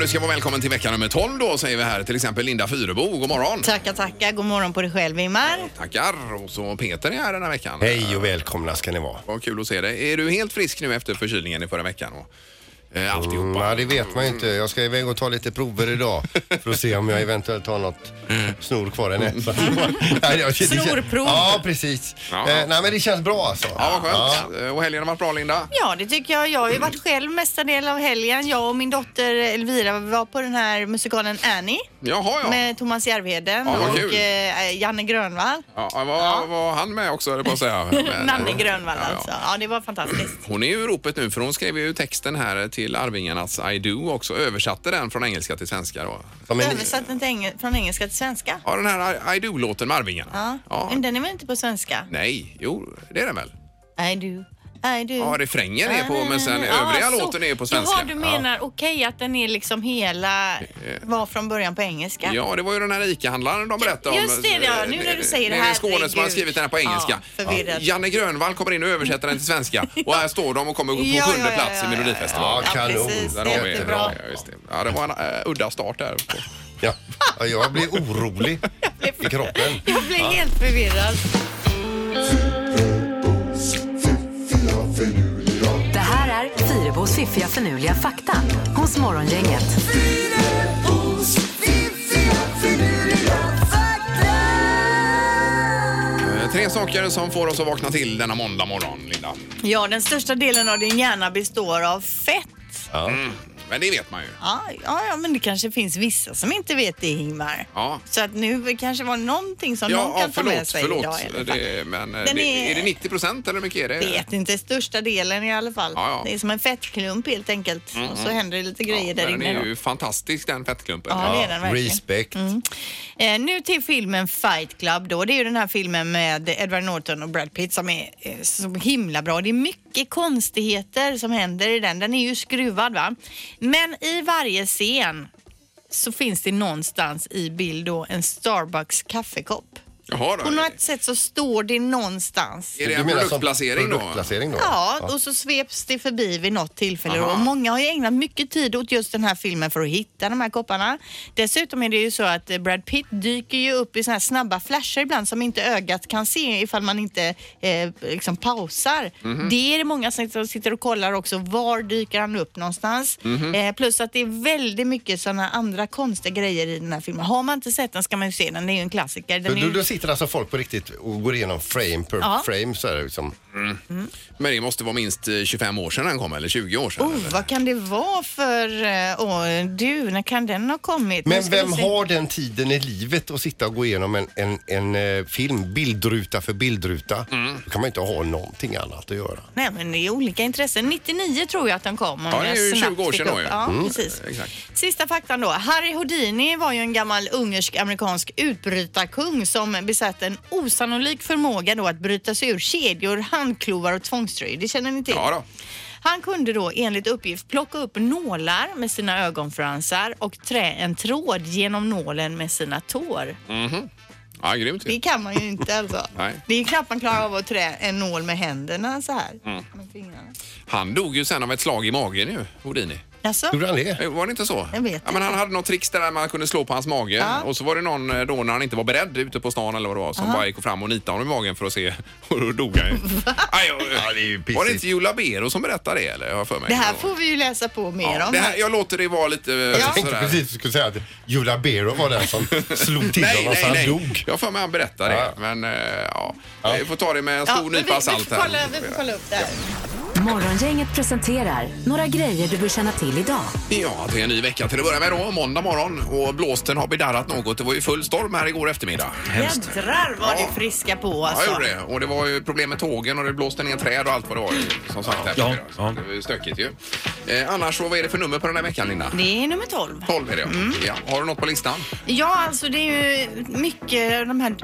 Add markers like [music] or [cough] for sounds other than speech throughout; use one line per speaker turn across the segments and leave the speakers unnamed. du ska vara välkommen till vecka nummer 12 då säger vi här. Till exempel Linda Fyrebo, god morgon.
Tackar, tackar. God morgon på dig själv, Ingmar.
Tackar. Och så Peter är här den här veckan.
Hej och välkomna ska ni vara.
Vad kul att se dig. Är du helt frisk nu efter förkylningen i förra veckan? Och, eh,
Mm,
alltihopa.
ja, det vet man ju inte. Jag ska iväg och ta lite prover idag för att se om jag eventuellt har något snor kvar i näsan. [laughs] Nej, jag- det känns-
Snorprov.
Ja, precis.
Mm. Ja.
Eh, nej, men det känns bra alltså.
Ja, vad skönt. Eh, Och helgen har varit bra Linda?
Ja, det tycker jag. Jag har ju varit själv mesta delen av helgen. Jag och min dotter Elvira var på den här musikalen Annie
Jaha, ja.
med Thomas Järvheden
Ja, vad
och
kul.
eh, Janne Grönvall.
Ja, var, var han med också, höll jag på att
[laughs]
säga. Men-
Nanne Grönvall
Ja, ja.
alltså. Ja, det var fantastiskt.
Hon är ju i ropet nu för hon skrev ju texten här till Arvingarnas I Do också. Översatte den från engelska till svenska då.
Som en,
Översatt den till engel- från engelska till svenska.
Ja, den här I- I Do-låten med Arvingarna.
Ja.
Ja.
Men den är väl inte på svenska?
Nej, jo, det är den väl?
I do, I do.
Ja, refrängen är på, men sen
Ah,
övriga
så.
låten är på svenska. Eh.
Jaha, du menar okej att den är liksom hela, var från början på engelska?
Ja, det var ju den här ICA-handlaren de berättade om.
Just det, ja. Nu när du säger det,
Nere i Skåne som har
herregud.
skrivit den här på engelska.
Ja, förvirrad.
Janne Grönvall kommer in och översätter den till
[laughs]
svenska. Och här står de och kommer på sjunde
Ja, ja, ja,
plats
ja,
i
ja,
Melodifestivalen.
Ja, kanon.
precis.
Där
det
har
är
vi det.
jättebra.
Ja, just det. Ja, det var en eh, udda start där.
ja. Ja, jag blir orolig i kroppen.
Jag blir helt förvirrad.
Det här är Fyrabos fiffiga förnuliga fakta hos Morgongänget.
Eh, Tre saker som får oss att vakna till denna måndag morgon, Linda.
Ja, den största delen av din hjärna består av fett.
Men det vet man ju.
Ja, ja, ja, men det kanske finns vissa som inte vet det, Ingmar.
Ja.
Så att nu kanske var någonting som någon
Ja,
kan
ja
ta med
förlåt.
sig idag i alla
förlåt.
fall.
Det, men, eh,
Den
det,
är-
är det 90 procent eller hur mycket är det?
Vet inte, största delen i alla fall.
Ja, ja.
Det är som en fettklump helt enkelt. Och så händer det lite grejer
Ja,
där
den
inne.
är
då.
ju fantastisk den fettklumpen.
Ja, det är den verkligen.
Respect.
Mm.
Eh, nu till filmen Fight Club då. Det är ju den här filmen med Edward Norton och Brad Pitt som är eh, så himla bra. Det är mycket konstigheter som händer i den. Den är ju skruvad va. Men i varje scen så finns det någonstans i bild då en Starbucks kaffekopp.
Jaha,
På
då.
något sätt så står det någonstans.
Är det en
Du menar som
produktplacering då?
Produktplacering då?
Ja, och så sveps det förbi vid något tillfälle.
Aha.
Och många har ju ägnat mycket tid åt just den här filmen för att hitta de här kopparna. Dessutom är det ju så att eh, Brad Pitt dyker ju upp i såna här snabba flashar ibland som inte ögat kan se ifall man inte eh, liksom pausar. Det är det många som sitter och kollar också. Var dyker han upp någonstans? Eh, plus att det är väldigt mycket sådana andra konstiga grejer i den här filmen. Har man inte sett den ska man ju se den. Det är ju en klassiker. Den
Då,
är ju...
då, då sitter alltså folk på riktigt och går igenom frame per
Ja.
frame så här liksom.
Men det måste vara minst eh, 25 år sedan den kom, eller 20 år sedan.
Oh,
eller?
vad kan det vara för... eh, Åh, du, när kan den ha kommit? Nu
Men
ska vi
vem
se.
har den tiden i livet att sitta och gå igenom en, en, en eh, film bildruta för bildruta? Då kan man inte ha någonting annat att göra.
Nej, men det är olika intressen. 99 tror jag att den kom. om
Ja, det är
jag
ju
snabbt
20 år
fick
sedan då
upp.
ju.
Ja,
Mm.
precis.
Exakt.
Sista faktan då. Harry Houdini var ju en gammal ungersk-amerikansk utbrytarkung som besatt en osannolik förmåga då att bryta sig ur kedjor, handklovar och tvångströjor. Det känner ni till?
Ja, då.
Han kunde då enligt uppgift plocka upp nålar med sina ögonfransar och trä en tråd genom nålen med sina tår.
Ja, grymt
Det
ju.
kan man ju inte alltså.
[laughs] Nej.
Det är knappt man klarar av att trä en nål med händerna så här.
Mm.
Med fingrarna.
Han dog ju sen av ett slag i magen ju, Houdini.
Alltså?
Gjorde han det?
Eh, Var det inte så?
Jag vet
ja, men han hade något tricks där man kunde slå på hans mage
Ja.
och så var det någon eh, då när han inte var beredd ute på stan eller vad det var som bara gick fram och nitade honom i magen för att se [laughs] och då dog
[laughs]
han ju. Aj, och,
Ja, det är ju pissigt.
var det inte Joe Labero som berättade det eller? Har jag för mig.
Det här får vi ju läsa på mer
ja,
om.
det här, Jag låter det vara lite eh,
Jag tänkte
sådär.
precis att du skulle säga att Julia Bero var den som slog till
Nej,
honom så
nej,
han
nej.
dog.
Jag har för mig han berättar det.
Ja.
Men eh, ja, vi får ta det med en
Ja,
stor
men vi,
nypa
vi,
salt
får
här.
kolla, vi får kolla upp det här.
Morgongänget presenterar några grejer du bör känna till idag.
Ja, det är en ny vecka till att börja med då, måndag morgon. Och blåsten har bedarrat något. Det var ju full storm här igår eftermiddag.
Jädrar vad du friska på
Ja,
alltså.
jag gjorde det. Och det var ju problem med tågen och det blåste ner träd och allt vad det var. ju, Som sagt, här
Ja,
Så det var ju stökigt ju. Eh, annars så, vad är det för nummer på den här veckan, Linda?
Det är nummer 12.
12 är det, ja.
Mm.
ja. Har du något på listan?
Ja, alltså det är ju mycket de här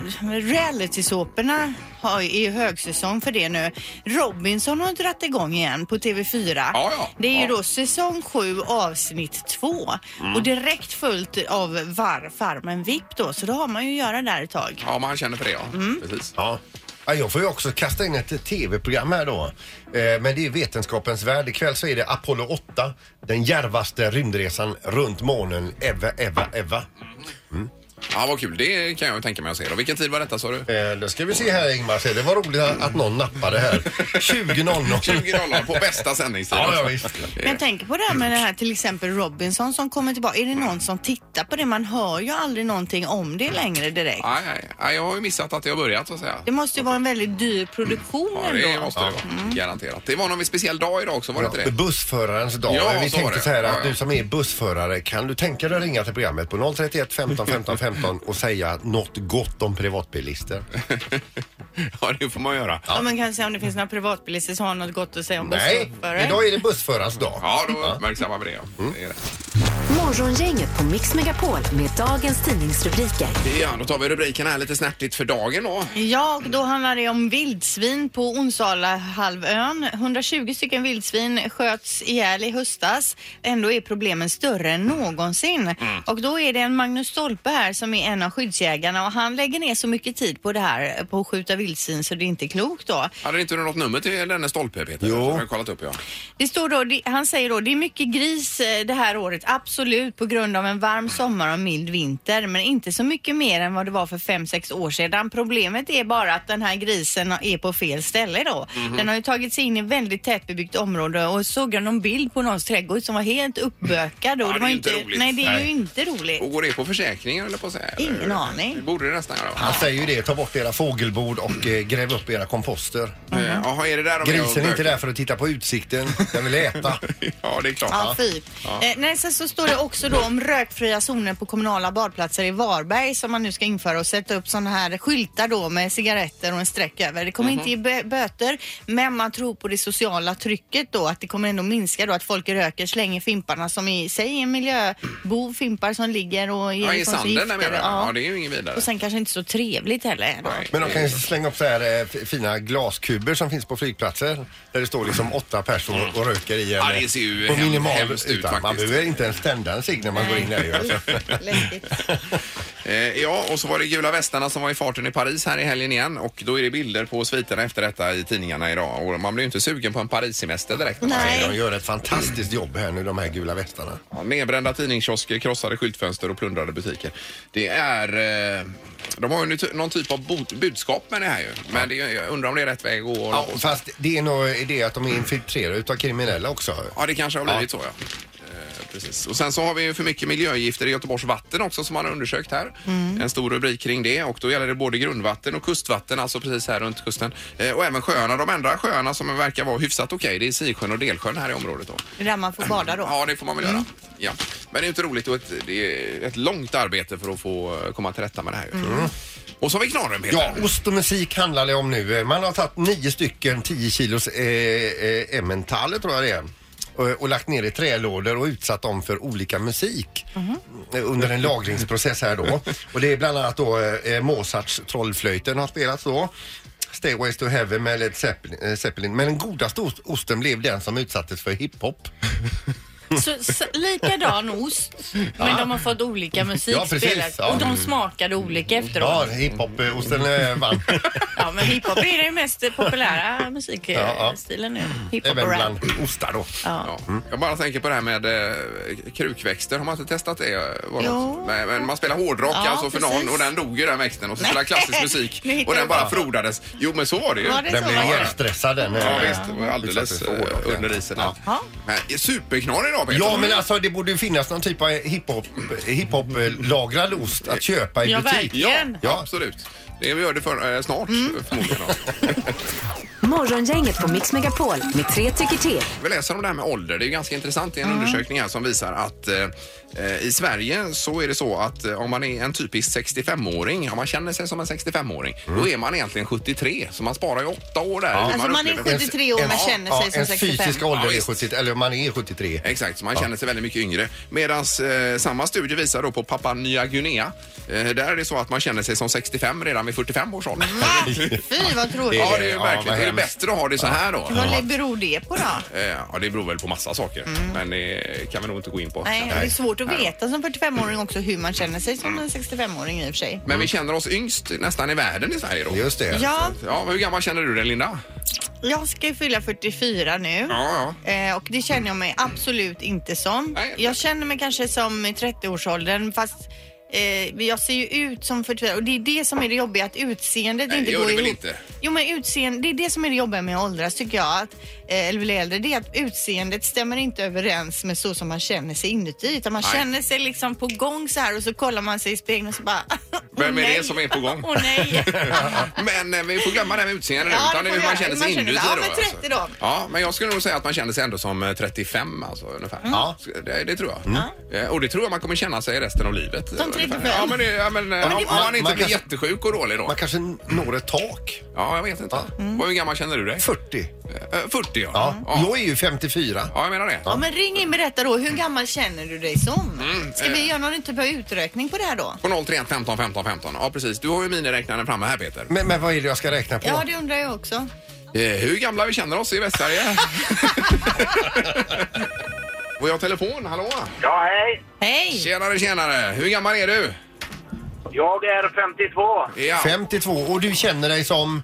realitysåporna har- är ju högsäsong för det nu. Robinson har dragit igång igen på TV4.
Ja, ja.
Det är ju
Ja. Mm.
då säsong 7 avsnitt 2 och direkt följt av var, Farmen VIP då, så då har man ju att göra där ett tag. Mm.
Ja, man känner för det, ja. Precis.
Ja. Ja, jag får ju också kasta in ett tv-program här då. Eh, men det är Vetenskapens Värld. Ikväll så är det Apollo 8. Den djärvaste rymdresan runt månen. Eva, Eva, Eva.
Ja, vad kul. Det kan jag tänka mig att se. Då. Vilken tid var detta sa
[laughs]
du?
Eh, då ska vi se här Ingmar. Se, Det var roligt att någon nappade här. 20.00.
20.00 på bästa sändningstid.
Ja, ja,
också.
visst.
Eh,
Men tänk på det här med det här till exempel Robinson som kommer tillbaka. Är det någon som tittar på det? Man hör ju aldrig någonting om det längre direkt.
Nej, nej, nej, jag har ju missat att det har börjat så att säga.
Det måste ju vara en väldigt dyr produktion
Ja, det
ändå. Mm.
måste det vara. Garanterat. Det var någon speciell dag idag också, var det inte det?
Bussförarens dag.
Ja,
vi
så var
tänkte
det.
så här att
Ja, ja.
du som är bussförare, kan du tänka dig att ringa till programmet på 031
[laughs]
15 15 15 och säga något gott om privatbilister?
[laughs] Ja, det får man göra.
Ja, men kanske om det finns några privatbilister som har något gott att säga om
Nej,
bussförare.
idag är det bussförarens dag.
Ja, Mm. då uppmärksammar vi det. Ja. Det är rätt.
Morgongänget på Mix Megapol med dagens tidningsrubriker.
ja, då tar vi rubrikerna här lite snärtigt för dagen då.
Ja, och då handlar det om vildsvin på Onsalahalvön. 120 stycken vildsvin sköts ihjäl i höstas. Ändå är problemen större än någonsin.
Mm.
Och då är det en Magnus Stolpe här som är en av skyddsjägarna och han lägger ner så mycket tid på det här, på att skjuta vildsvin så det är inte klokt då.
Hade inte du något nummer till denne stolpe, Peter?
Jo.
Som Jag har kollat upp, ja.
Det står då, det- han säger då, det är mycket gris eh, det här året, absolut, på grund av en varm sommar och mild vinter, men inte så mycket mer än vad det var för fem sex år sedan. Problemet är bara att den här grisen är på fel ställe då.
Mhm.
Den har ju tagit sig in i väldigt tätbebyggt område och såg jag någon bild på någons trädgård som var helt uppbökad. Och
Ja, det är
var
ju inte roligt.
Nej, det är ju
Nej.
inte roligt.
Och går det på försäkringen eller på att säga?
Ingen
Eller-
aning.
Det borde det nästan göra. va?
Han säger ju det, ta bort era fågelbord och eh, gräv upp era komposter.
Eh, Jaha, är det där de är och
Grisen är inte
bökar?
där för att titta på utsikten, den vill äta.
[laughs] Ja, det är klart.
Ja, fy. Eh, nej, sen så står det också då om rökfria zoner på kommunala badplatser i Varberg som man nu ska införa och sätta upp sådana här skyltar då med cigaretter och en streck över. Det kommer inte ge bö- böter, men man tror på det sociala trycket då att det kommer ändå minska då att folk röker, slänger fimparna som i sig är en miljöbov, fimpar som ligger och ger
Ja, i
ifrån sig
sanden där menar
gifter.
du?
Ja.
Ja, det är ju inget vidare.
Och sen kanske inte så trevligt heller. då.
Nej.
Men de kan ju slänga upp så här eh, f- fina glaskuber som finns på flygplatser där det står liksom åtta personer och röker i en
Ja, det
eh,
ser ju
på
hem-
minimal
hemskt ut
yta. Man
faktiskt.
behöver inte ens tända en cigg när man går in där. ju, alltså.
[laughs] Läskigt.
Eh, ja, och så var det gula västarna som var i farten i Paris här i helgen igen och då är det bilder på sviterna efter detta i tidningarna idag och man blir ju inte sugen på en Paris-semester direkt. när man
Nej.
ser dem.
De gör ett fantastiskt jobb här nu, de här gula västarna.
Ja, nedbrända tidningskiosker, krossade skyltfönster och plundrade butiker. Det är... Eh, de har ju nu ty- någon typ av bot- budskap med det här ju. Men det, är ju- jag undrar om det är rätt väg att gå.
Ja,
och-
fast det är nog det att de är infiltrerade utav kriminella också.
Ja, det kanske har blivit så ja. Eh, Precis. Och sen så har vi ju för mycket miljögifter i Göteborgs vatten också som man har undersökt här. En stor rubrik kring det och då gäller det både grundvatten och kustvatten, alltså precis här runt kusten. Eh, Och även sjöarna, de andra sjöarna som verkar vara hyfsat okej, det är Sisjön och Delsjön här i området då.
Det är där man får bada då.
Ja, det får man väl göra. Ja. Men det är inte roligt och ett, det är ett långt arbete för att få eh, komma till rätta med det här. ju. Och så har vi knorren Peter.
Ja, ost och musik handlar det om nu. Man har tagit nio stycken 10 kilos eh, eh, emmentaler tror jag det är. Och, och lagt ner i trälådor och utsatt dem för olika musik Eh, under en lagringsprocess här då. Och det är bland annat då eh, Mozarts Trollflöjten har spelats då. Stairways to Heaven med Led Zeppelin. eh, Zeppelin. Men den godaste ost- osten blev den som utsattes för hiphop.
Så, s- likadan ost, men de har fått olika musik
Ja, precis,
spelat.
ja.
Och de smakade olika efteråt.
Ja, hiphop-osten eh, vann.
Ja, men hiphop är den mest populära
Ja, ja.
musikstilen nu. Hiphop
Även
och rap.
bland ostar då.
Ja. Jag bara tänker på det här med eh, krukväxter. Har man inte testat det? Var det
Jo.
något? Nej, men man spelar hårdrock
Ja,
alltså för
precis.
någon och den dog ju den växten och så spelade klassisk
Nu
musik
hittar
och den
du
bara
på.
frodades. Jo men så var det ju.
Var det
Den
så?
blev
Ja, ja.
hjärnstressad den. eh,
Ja visst, det var alldeles
utsattes för hårdrock,
eh,
ja.
under isen. där.
Ja.
Men Superknorr idag Peter. Mm.
Ja, men alltså det borde ju finnas någon typ av hiphop, hiphop-lagrad ost att köpa i
Ja,
butik.
Ja,
verkligen.
ja, absolut. Det gör det för, eh, snart förmodligen.
Morgongänget på Mix Megapol med tre tycker till.
Vi läser om det här med ålder. Det är ju ganska intressant. Det är en undersökning här som visar att eh, eh, i Sverige så är det så att eh, om man är en typisk 65-åring, om man känner sig som en 65-åring, då är man egentligen 73. Så man sparar ju åtta år där. Hur
Alltså, man är
upplever-
73 år, men känner sig som
ens
65.
fysiska ålder
Ja,
är
visst.
70, eller man är 73.
Exakt, så man känner sig väldigt mycket yngre. Medan eh, samma studie visar då på Papua Nya Guinea. Eh, där är det så att man känner sig som 65 redan vid 45 års ålder.
Fy vad tråkigt.
Ja, det är ju
Ja,
verkligen.
vad
Det är
hemskt.
bättre att ha det så här då.
Vad beror det på då?
Eh, Ja, det beror väl på massa saker, men det kan vi nog inte gå in på.
Nej, och det är svårt svårt att veta som 45-åring också hur man känner sig som en 65-åring i och för sig.
Men vi känner oss yngst nästan i världen i Sverige då.
Just det.
Mm. Ja,
Ja, men hur gammal känner du dig Linda?
jag ska ju fylla 44 nu.
Ja,
Eh, Och det känner jag mig absolut inte som.
Nej.
Jag känner mig kanske som i 30-årsåldern fast eh, jag ser ju ut som 44 och det är det som är det jobbiga att utseendet
Nej,
inte
det gör
går
det väl
ihop.
inte?
Jo men utseende, det är det som är det jobbiga med att åldras tycker jag. Att, eh, eller bli äldre. Det är att utseendet stämmer inte överens med så som man känner sig inuti. Utan man
Nej.
känner sig liksom på gång så här och så kollar man sig i spegeln och så bara... [laughs] åh,
Vem är
nej.
det som är på
[laughs]
gång?
Åh nej.
[laughs] Men eh, vi får glömma det här med utseendet nu.
Ja,
Utan
det
det är
får
hur man
jag.
känner sig
Man känner-
inuti
ja,
då. alltså.
men 30 då.
Ja, men jag skulle nog säga att man känner sig ändå som eh, 35 alltså ungefär.
Mm.
Ja.
Det, det tror jag. Eh, Och det tror jag man kommer känna sig resten av livet. eh, ungefär.
35.
Ja, men, det, ja, men, eh, om, om
man-
man inte
man
blir
kanske-
jättesjuk och dålig då.
Man kanske når ett tak.
Ja, jag vet inte.
Mm.
Vad- Hur gammal känner du dig?
40.
Eh, 40 ja.
Ja.
ja.
Jag är ju 54.
Ja, jag menar det.
Ja men ring in berätta då, hur gammal känner du dig som? Ska
eh.
vi göra någon typ av utrökning på det här då?
På 031 15 15 15. Ja, precis. Du har ju miniräknaren framme här, Peter.
Men, men vad är det jag ska räkna på?
Ja, det undrar jag också.
Eh, hur gamla vi känner oss i
[laughs]
Västsverige. och jag har telefon. Hallå?
Ja, hej.
Hej!
Tjenare, tjenare. Hur gammal är du?
Jag är 52.
Ja.
52 och du känner dig som...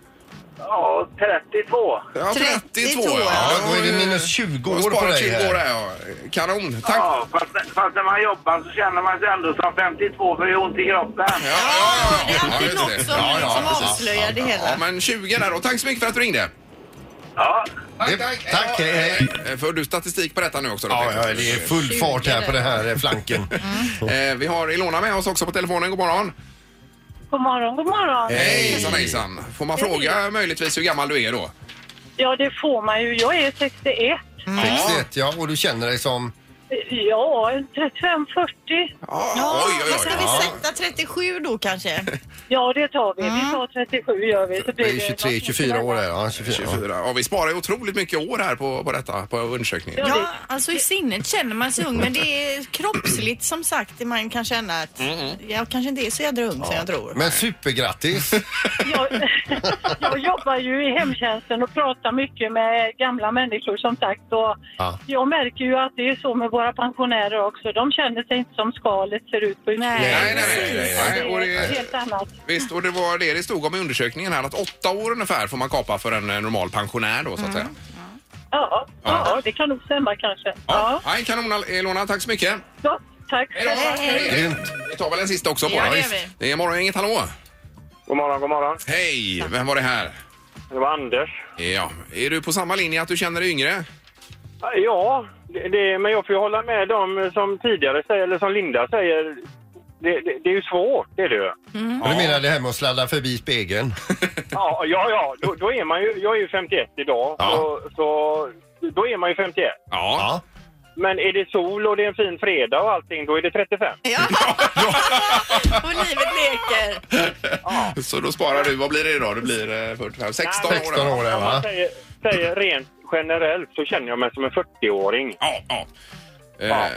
Ja, 32.
Ja, 32
32,
ja. eh,
ja.
Då är det minus 20
Jag har
år på
sparat
dig
20
här.
år här ja. Kanon. Tack. Ja,
Ja, fast, fast när man jobbar så känner man sig ändå som 52 för det är ont i kroppen.
ja, ja,
Det är
ja,
alltid
just
något som
Ja, ja,
liksom
precis.
avslöjar det
Ja,
hela.
men 20 där då. Tack så mycket för att du ringde.
Ja,
Det- tack, hej, hej.
Eh, Får du statistik på detta nu också? Då,
Ja,
Peter?
ja, det är full fart här på den här eh, flanken.
Eh, Vi har Ilona med oss också på telefonen. God morgon.
God morgon, god morgon.
Hej. Hejsan, hejsan. Får man fråga möjligtvis hur gammal du är då?
Ja, det får man ju. Jag är 61.
61, ja. Och du känner dig som...
Ja, 35-40.
Ja,
Ja,
oj, oj,
men
oj.
ska
Ja.
vi sätta 37 då kanske?
Ja, det tar vi.
Mm.
Vi tar 37 gör vi. Så
Det
blir
är 23, 24 år här. Ja, 24. ja.
24. Ja, vi sparar ju otroligt mycket år här på, på detta, på undersökningen.
Ja, alltså i sinnet känner man sig ung men det är
Kroppsligt som sagt, man kan känna att jag kanske inte är så jädra ung som jag tror.
Men supergrattis!
Jag, [laughs] jag jobbar ju i hemtjänsten och pratar mycket med gamla människor som sagt. Och
Ja.
Jag märker ju att det är så med våra pensionärer också. De känner sig inte som skalet ser ut på utsidan.
Nej.
Nej, nej, nej. nej, nej. Och
Det är
det,
helt annat.
visst, och det var det det stod om i undersökningen här att åtta år ungefär får man kapa för en eh, normal pensionär då så att säga.
Ja, ja. det kan nog stämma kanske.
Ja.
Ja.
Nej, kanon Elona, tack så mycket.
Ja. Tack.
Hej då.
Grymt.
Vi tar väl en sista också
Ja,
bara.
det gör
visst.
vi.
det är morgongänget, hallå!
god morgon, god morgon.
Hej, vem var det här?
Det var Anders.
Ja, är du på samma linje att du känner dig yngre?
Ja, det, det, men jag får ju hålla med dem som tidigare säger, eller som Linda säger. Det, det, det är ju svårt, det är det ju.
Och du menar det här med att sladda förbi spegeln?
Ja, ja, ja. Då, då är man ju, jag är ju 51 idag,
Ja.
så, så då är man ju 51.
Ja.
Ja.
Men är det sol och det är en fin fredag och allting, då är det 35.
[laughs]
Ja,
[laughs] och livet leker.
[laughs] Så då sparar du, vad blir det idag? Det blir eh, 45, 16 år.
16 år här,
Om man
va?
säger, säger rent generellt så känner jag mig som en 40-åring.
Ja, ja.
Ja.
Eh,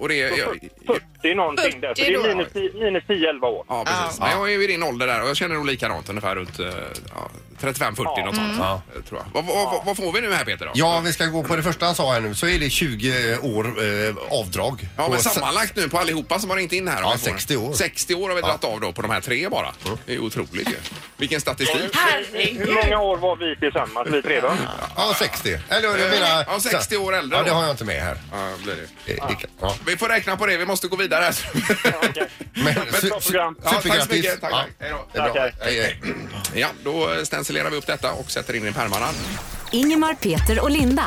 och det... Jag,
40 någonting där, för det
40 då.
är minus, 10 minus 10-11 år.
Ja, precis. Men jag är ju i din ålder där och jag känner nog likadant ungefär runt eh, ja, 35-40 något sånt.
Ja.
eh, Tror jag. Vad, vad, vad- vad får vi nu här Peter då?
Ja, vi ska gå på det första han sa här nu. Så är det 20 år eh, avdrag.
Ja, men
Och sen-
sammanlagt nu på allihopa som har ringt in här.
Ja,
Om vi får-
60 år. Mm.
60 år har vi dragit av då på de här tre bara. Det är ju otroligt ju. Vilken statistik.
Hur
Herregud.
många år var vi tillsammans, vi tre då?
Ja, 60. Eller jag menar...
Ja, 60 år äldre
Ja,
då.
det har jag inte med här.
Ja, det blir det.
Eh, det- Ja.
Vi får räkna på det, vi måste gå vidare här.
okej.
Men, su-
bra
su-
program.
Ja, tack så
supergrattis.
mycket. Tack, tack. Hej då.
det är bra.
Tackar.
Hej, hej.
Ja, då stencilerar vi upp detta och sätter in i pärmarna.
Ingemar, Peter och Linda.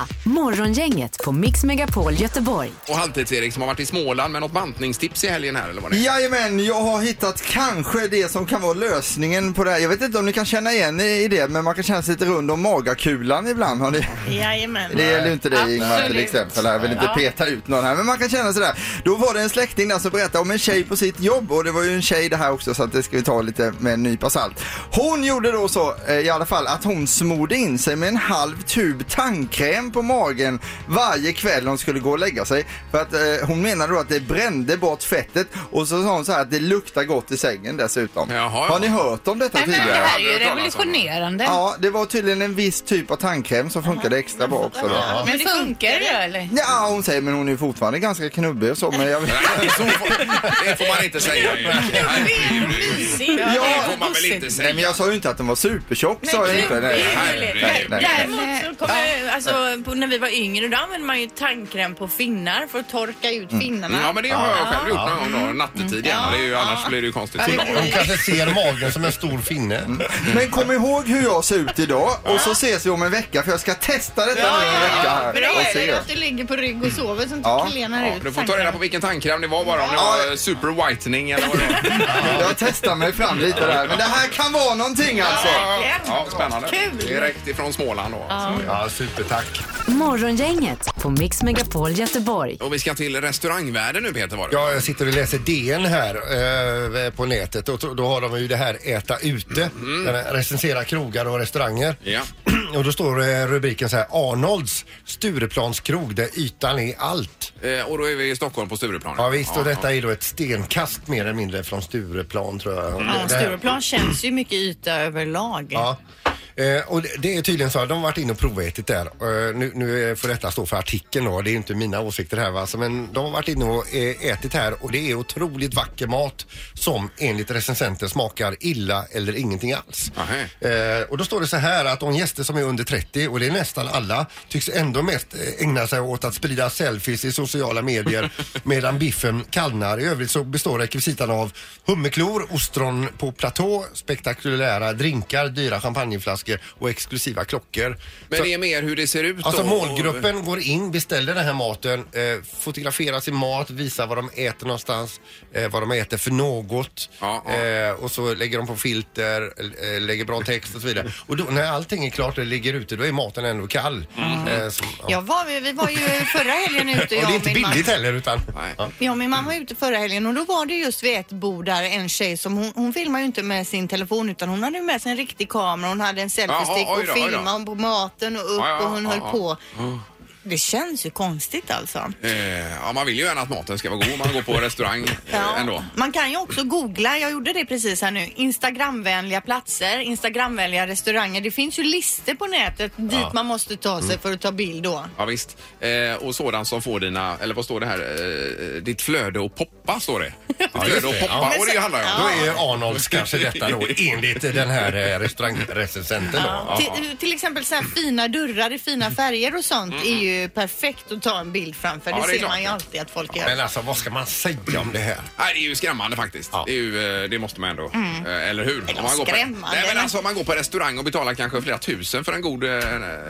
Morgongänget på Mix Megapol Göteborg.
Och Halvtids-Erik som har varit i Småland med något bantningstips i helgen här eller vad det är.
Jajamän, jag har hittat kanske det som kan vara lösningen på det här. Jag vet inte om ni kan känna igen i i det, men man kan känna sig lite rund om magakulan ibland. Har ni?
Jajamän.
Det gäller ju inte dig Ingmar till
Absolut.
exempel. Jag vill inte peta ut någon här, men man kan känna sådär. Då var det en släkting där som berättade om en tjej på sitt jobb och det var ju en tjej det här också så att det ska vi ta lite med en nypa salt. Hon gjorde då så eh, i alla fall att hon smorde in sig med en halv halv tub tandkräm på magen varje kväll hon skulle gå och lägga sig. För att eh, hon menade då att det brände bort fettet och så sa hon så här att det luktar gott i sängen dessutom.
Jaha, ja.
Har ni hört om detta
Nej, men det
tidigare?
här är ju
Aldrig hört talas om.
revolutionerade.
Ja, det var tydligen en viss typ av tandkräm som funkade extra bra också då.
Men det funkar ju eller?
Ja, hon säger men hon är fortfarande ganska knubbig och så
[laughs]
men jag
Alltså,
Nej, så får, det får man inte säga. ju.
Mysigt.
Det får man väl inte
Nej men
säga.
jag sa ju inte att den var supertjock sa jag inte. Nej, nej, nej, nej.
Däremot så kommer, alltså, på- när vi var yngre då använde man ju tandkräm på finnar för att torka ut
Mm.
finnarna.
Ja, men det har jag själv gjort någon gång då, nattetid gärna. Det är ju, annars blir det ju konstigt.
Hon kanske ser magen som en stor finne.
Mm.
Men kom ihåg hur jag ser ut idag och så ses vi om en vecka för jag ska testa detta nu i en vecka här
Men det
och
är
se.
ju att du ligger på rygg och sover som
Ja.
klenar
Ja,
ut
du får ta reda på vilken tandkräm det var bara, om det var eh, super whitening eller vad det var.
Jag testar mig fram lite där men det här kan vara någonting alltså.
Ja, ja, spännande. Direkt ifrån Småland då.
Ja, supertack.
Morgongänget på Mix Megapol Göteborg.
Och vi ska till restaurangvärlden nu Peter var det.
Ja, jag sitter och läser DN här eh, på nätet och då- då har de ju det här äta ute. Där de Recensera krogar och restauranger.
Ja.
[clears throat] Och då står eh, rubriken så här Arnolds Stureplanskrog där ytan är allt.
Eh, Och då är vi i Stockholm på Stureplan.
Ja visst, och detta är då ett stenkast mer eller mindre från Stureplan tror jag.
Ja,
Det här-
Stureplan känns ju mycket yta överlag.
Ja. Eh, och det, det är tydligen så att de har varit inne och provätit där. Eh, nu, nu eh, får detta stå för artikeln då, det är ju inte mina åsikter här va. Alltså, men de har varit inne och eh, ätit här och det är otroligt vacker mat som enligt recensenter smakar illa eller ingenting alls.
Aha.
Eh, och då står det så här att de gäster som är under 30 och det är nästan alla tycks ändå mest eh, ägna sig åt att sprida selfies i sociala medier medan biffen kallnar. I övrigt så består rekvisitan av hummerklor, ostron på platå, spektakulära drinkar, dyra champagneflaskor och exklusiva klockor.
Men
så,
det är mer hur det ser ut
Alltså
då.
målgruppen går in, beställer den här maten, eh, fotograferar sin mat, visar vad de äter någonstans, eh, vad de äter för något
Ja, ja.
Eh, och så lägger de på filter, eh, lägger bra text och så vidare. Och då, när allting är klart och det ligger ute, då är maten ändå kall.
Mm.
Eh, så, ja.
Jag var, vi var ju förra
[laughs]
helgen ute, jag
och det är
och
inte
min man.
billigt heller utan...
Nej.
Ja.
Ja, min mamma var ute förra helgen och då var det just vid ett bord där en tjej som hon, hon filmar ju inte med sin telefon utan hon hade ju med sig en riktig kamera. Hon hade en selfiestick
Jaha, oj då,
och
oj då.
filmade på maten och upp
Ja, ja,
och hon
ja,
höll
ja. Mm.
på. Det känns ju konstigt alltså.
Eh, Ja, man vill ju gärna att maten ska vara god om man går på restaurang eh,
Ja.
ändå.
Man kan ju också googla, jag gjorde det precis här nu, Instagramvänliga platser, Instagramvänliga restauranger. Det finns ju listor på nätet dit man måste ta sig
Mm.
för att ta bild då.
Ja, visst. Eh, och sådant som får dina, eller vad står det här, eh, ditt flöde att poppa står det. Ditt
just
flöde
det.
att poppa,
Ja.
och det handlar ju om.
Då är Arnolds kanske detta då enligt den här eh, restaurangrecensenten då. Ja.
Till, till exempel så här fina dörrar i fina färger och sånt är ju perfekt att ta en bild framför.
Mm. Ja,
det,
det är
ser
klart,
man ju
ja.
alltid att folk gör.
Men alltså vad ska man säga om det här?
Nej, det är ju skrämmande faktiskt.
Ja. Mm.
Det, är ju, eh, det måste man ändå. eh, Eller hur?
Eller
man går på,
skrämmande,
nej, men
men-
alltså, om man går på restaurang och betalar kanske flera tusen för en god eh,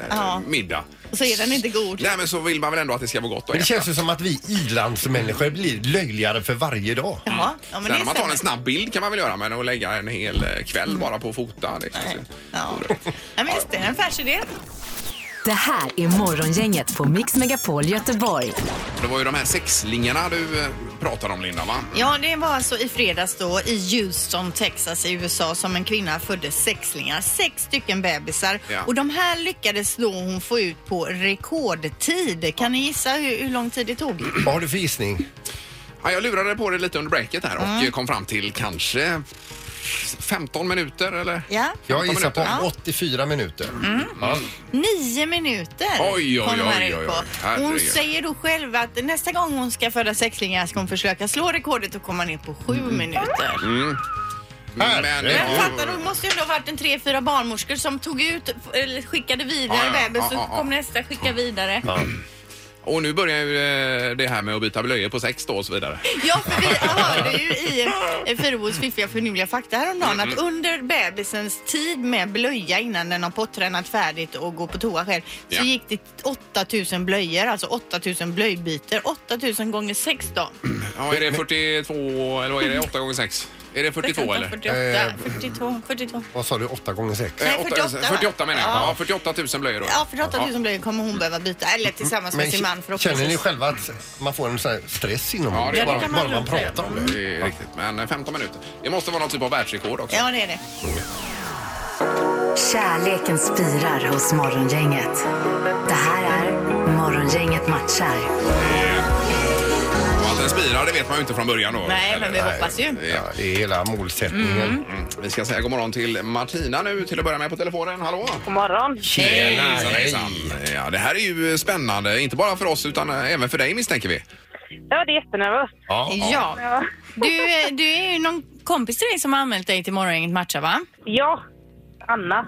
Ja.
middag.
Och så är den inte god.
Nej, men så vill man väl ändå att det ska vara gott att
Men det
äta.
känns ju som att vi ilandsmänniskor blir löjligare för varje dag.
Jaha, ja, men
Sen
det
om man tar
stämmer.
en snabb bild kan man väl göra, men att lägga en hel eh, kväll
Mm.
bara på att fota, det känns ju...
Ja. Nej, men just det, en affärsidé.
Det här är Morgongänget på Mix Megapol Göteborg.
Det var ju de här sexlingarna du eh, pratade om, Linda, va?
Ja, det var alltså i fredags då i Houston, Texas i USA som en kvinna födde sexlingar, sex stycken bebisar.
Ja.
Och de här lyckades då hon få ut på rekordtid. Kan ni gissa hur, hur lång tid det tog?
Vad har du för gissning?
Ja, jag lurade på det lite under breaket här och
Mm.
eh, kom fram till kanske 15 minuter, eller?
Ja.
Jag gissar på
Ja.
84 minuter. Ja.
Nio minuter
Oj, oj,
kom de här
oj,
ut
oj,
på.
oj.
Hon
Herregud.
säger då själv att nästa gång hon ska föda sexlingar ska hon försöka slå rekordet och komma ner på sju
Mm.
minuter.
Men,
Herregud.
eh,
Men fattar du, det måste ju ändå ha varit en tre, fyra barnmorskor som tog ut, eller skickade vidare
Ja, ja,
bebisen,
ja, ja, ja.
så kom nästa, skicka vidare.
Och nu börjar ju eh, det här med att byta blöjor på sex då och så vidare.
Ja, för vi hörde ju i eh, Fyrabos fiffiga förnuliga fakta häromdagen att under bebisens tid med blöja innan den har pottränat färdigt och går på toa själv så
Ja.
gick det 8000 blöjor, alltså 8000 blöjbyter. 8000 gånger 6 då.
Ja, är det 42 eller vad är det? 8 gånger 6? Är det 42 eller?
48, 42, 42.
Vad sa du? 8 gånger 6?
Nej,
Eh, åtta-
48, va?
48 menar jag.
Ja.
Ja, 48 000 blöjor då.
Ja, för 8000 blöjor kommer hon behöva byta, eller tillsammans med sin man
känner ni
förhoppningsvis.
själva att man får en sån här stress inom
Ja, det
bara,
kan
man
bara man
lugnt säga.
pratar om det?
Det är riktigt. Men eh, 15 minuter. Det måste vara någon typ av världsrekord också.
Ja, det är det.
Kärleken spirar hos Morgongänget. Det här är Morgongänget matchar.
Och att den spirar det vet man ju inte från början då.
Nej, men vi
Eller-
hoppas ju.
Nej. Ja.
Ja, det är hela målsättningen.
Vi ska säga god morgon till Martina nu till att börja med på telefonen. Hallå!
God morgon.
Tjena, hejsan. Ja, det här är ju spännande, inte bara för oss utan eh, även för dig misstänker vi.
Ja, det är jättenervöst.
Ja. Du, eh, du är ju någon kompis till dig som har anmält dig till Morgongänget matchar va?
Ja, Anna.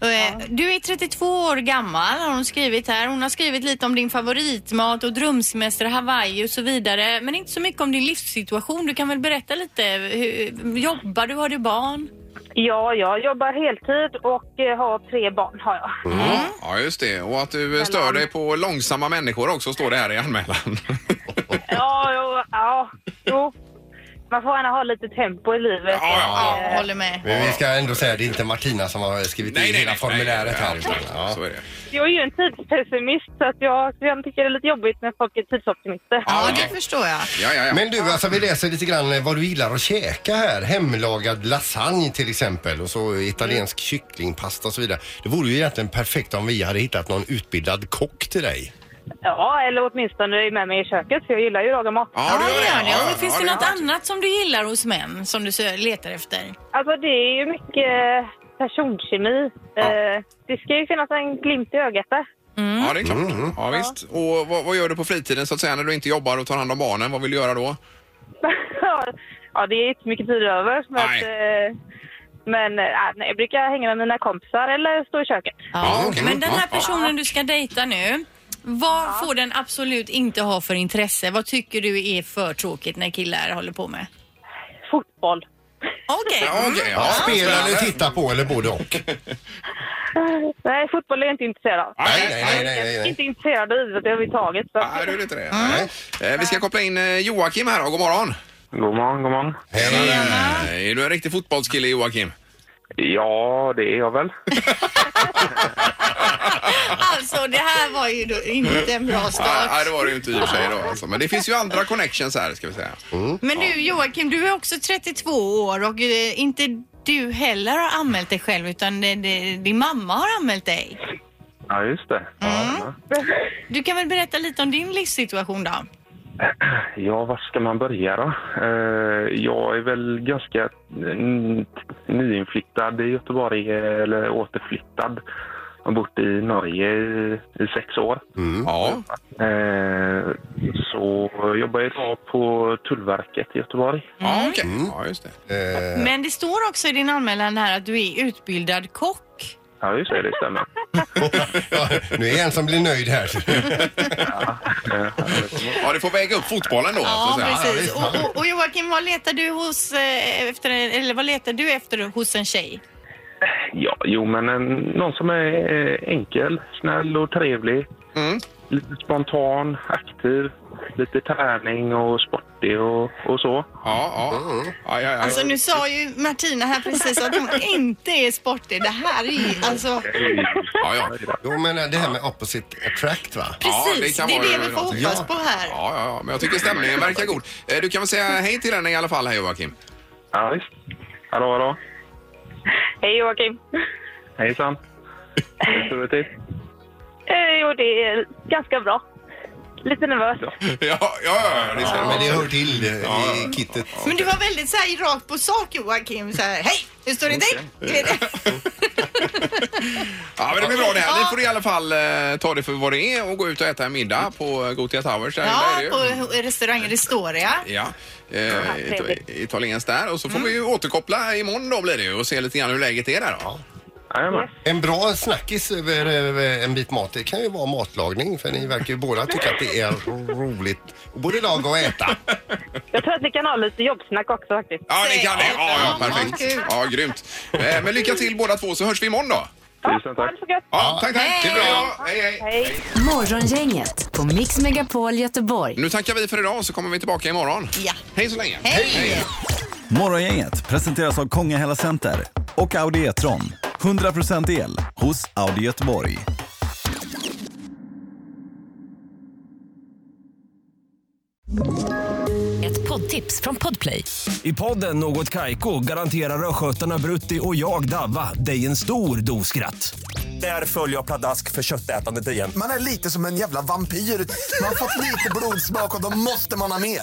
Och, eh, Du är 32 år gammal har hon skrivit här. Hon har skrivit lite om din favoritmat och drömsemester, Hawaii och så vidare. Men inte så mycket om din livssituation. Du kan väl berätta lite. Hur, jobbar du? Har du barn?
Ja, jag jobbar heltid och eh, har tre barn har jag.
Mm. Ja, just det. Och att du eh, stör dig på långsamma människor också står det här i [laughs] anmälan.
Ja, jo, ja, jo. Man får gärna ha lite tempo i livet. Eh,
Ja, ja,
Ja, håller med.
Men vi ska ändå säga att det är inte Martina som har skrivit in hela formuläret här.
nej, nej,
Ja.
Så är det.
Jag är ju en tidspessimist så att jag, jag tycker det är lite jobbigt när folk är tidsoptimister.
Ja,
Ja,
okej.
det förstår jag.
Ja, ja, ja.
Men du, alltså, vi läser lite grann eh, vad du gillar att käka här. Hemlagad lasagne till exempel och så italiensk kycklingpasta och så vidare. Det vore ju egentligen perfekt om vi hade hittat någon utbildad kock till dig.
Ja, eller åtminstone är med mig i köket för jag gillar ju att laga mat.
Ja, du gör
gör
det. Ja,
Och finns
ja,
det
är
något
sant.
annat som du gillar hos män som du sö- letar efter?
Alltså det är ju mycket eh, personkemi. Eh, det ska ju finnas en glimt i ögat där.
Ja, det är klart.
Mm.
Ja, visst. Och vad, vad gör du på fritiden så att säga när du inte jobbar och tar hand om barnen? Vad vill du göra då?
ja, det är inte mycket tid över. Men,
Nej.
att, eh, men eh, nej, jag brukar hänga med mina kompisar eller stå i köket.
Ja, okej.
Men den här
Ja, ja.
personen du ska dejta nu. Vad får den absolut inte ha för intresse? Vad tycker du är för tråkigt när killar håller på med?
Fotboll.
Okej.
Ja, okej.
Ja,
Ja,
spela
spännande.
eller titta på eller både och.
Nej, fotboll är jag inte intresserad av.
Nej,
Nej, nej, nej, nej.
Jag är
nej.
inte intresserad av idrott överhuvudtaget. Så att,
Nej, du är inte det. Nej. Eh, Vi ska koppla in eh, Joakim här då. God morgon!
God morgon, god morgon.
Eh, Är du en riktig fotbollskille Joakim?
Ja, det är jag väl.
Alltså det här var ju då inte en bra
Nej,
start.
nej, det var det ju inte i och för sig då. Alltså. Men det finns ju andra connections här ska vi säga.
Men du Joakim, du är också 32 år och eh, inte du heller har anmält dig själv utan det, det, din mamma har anmält dig.
Ja, just det. Ja.
Du kan väl berätta lite om din livssituation då?
Ja, var ska man börja då? Eh, Jag är väl ganska mm, nyinflyttad i Göteborg, eh, eller återflyttad. Jag har bott i Norge i, i sex år.
Mm.
Ja.
Eh, Så jobbar jag idag på Tullverket i Göteborg.
Mm.
Ja, okej. Ja, just det.
Eh,
Men det står också i din anmälan här att du är utbildad kock.
Ja, just det, det stämmer.
ja, nu är det en som blir nöjd här.
Eh,
Ja, det får väga upp fotbollen då. så
Ja,
att säga.
precis. Och, och, och Joakim, vad letar du hos, eh, efter, en- eller vad letar du efter hos en tjej?
Ja, jo, men en, någon som är eh, enkel, snäll och trevlig.
Mm.
Lite spontan, aktiv, lite träning och sportig och, och så.
Ja, ja. Aj, aj, aj.
Alltså nu sa ju Martina här precis att hon inte är sportig. Det här är ju, alltså,
ja, ja.
Jo, men eh, det här med opposite attract va?
Ja,
precis.
kan
det är
vara
det vi får
någonting.
hoppas på här.
Ja, ja, ja, men jag tycker stämningen verkar god. Eh, Du kan väl säga hej till henne i alla fall här Joakim?
Ja, visst. Hallå, hallå.
hej Joakim.
Hejsan. Hur står det till?
Eh, jo, det är ganska bra. Lite nervös.
Ja, ja, ja, det ser
Men
man.
det hör till eh, i kittet.
Men du var väldigt så här rakt på sak Joakim. Så här, hej, hur står det till? Är det-
Ja, men det blir bra det här. Ni får i alla fall eh, ta det för vad det är och gå ut och äta en middag på eh, Gothia Towers. Där, där är
Ja,
det ju.
på restaurangen Restoria.
Ja, eh, it- italienskt där. Och så
Mm.
får vi ju återkoppla imorgon då blir det ju och se lite grann hur läget är där då.
Jajamän.
En bra snackis över eh, en bit mat, det kan ju vara matlagning för ni verkar ju båda tycka att det är roligt att både laga och äta.
Jag tror att vi kan ha lite jobbsnack också faktiskt.
Ja, ni kan det. Ja, ja,
Ja,
perfekt.
kul.
Ja, grymt. Eh, Men lycka till båda två så hörs vi imorgon då.
Tusen
Ha
tack.
det så gött.
Ja, tack, tack. Det är bra. Hej, hej.
Hej.
Morgongänget på Mix Megapol Göteborg.
Nu tackar vi för idag så kommer vi tillbaka imorgon.
Ja.
Hej så länge.
Hej!
Morgongänget presenteras av Kongahälla Center och Audi E-tron. 100% el hos Audi Göteborg.
Ett Poddtips från Podplay.
I podden Något Kaiko garanterar östgötarna Brutti och jag, Davva, dig en stor dos skratt. Där följer jag pladask för köttätandet igen.
Man är lite som en jävla vampyr. Man har fått lite blodsmak och då måste man ha mer.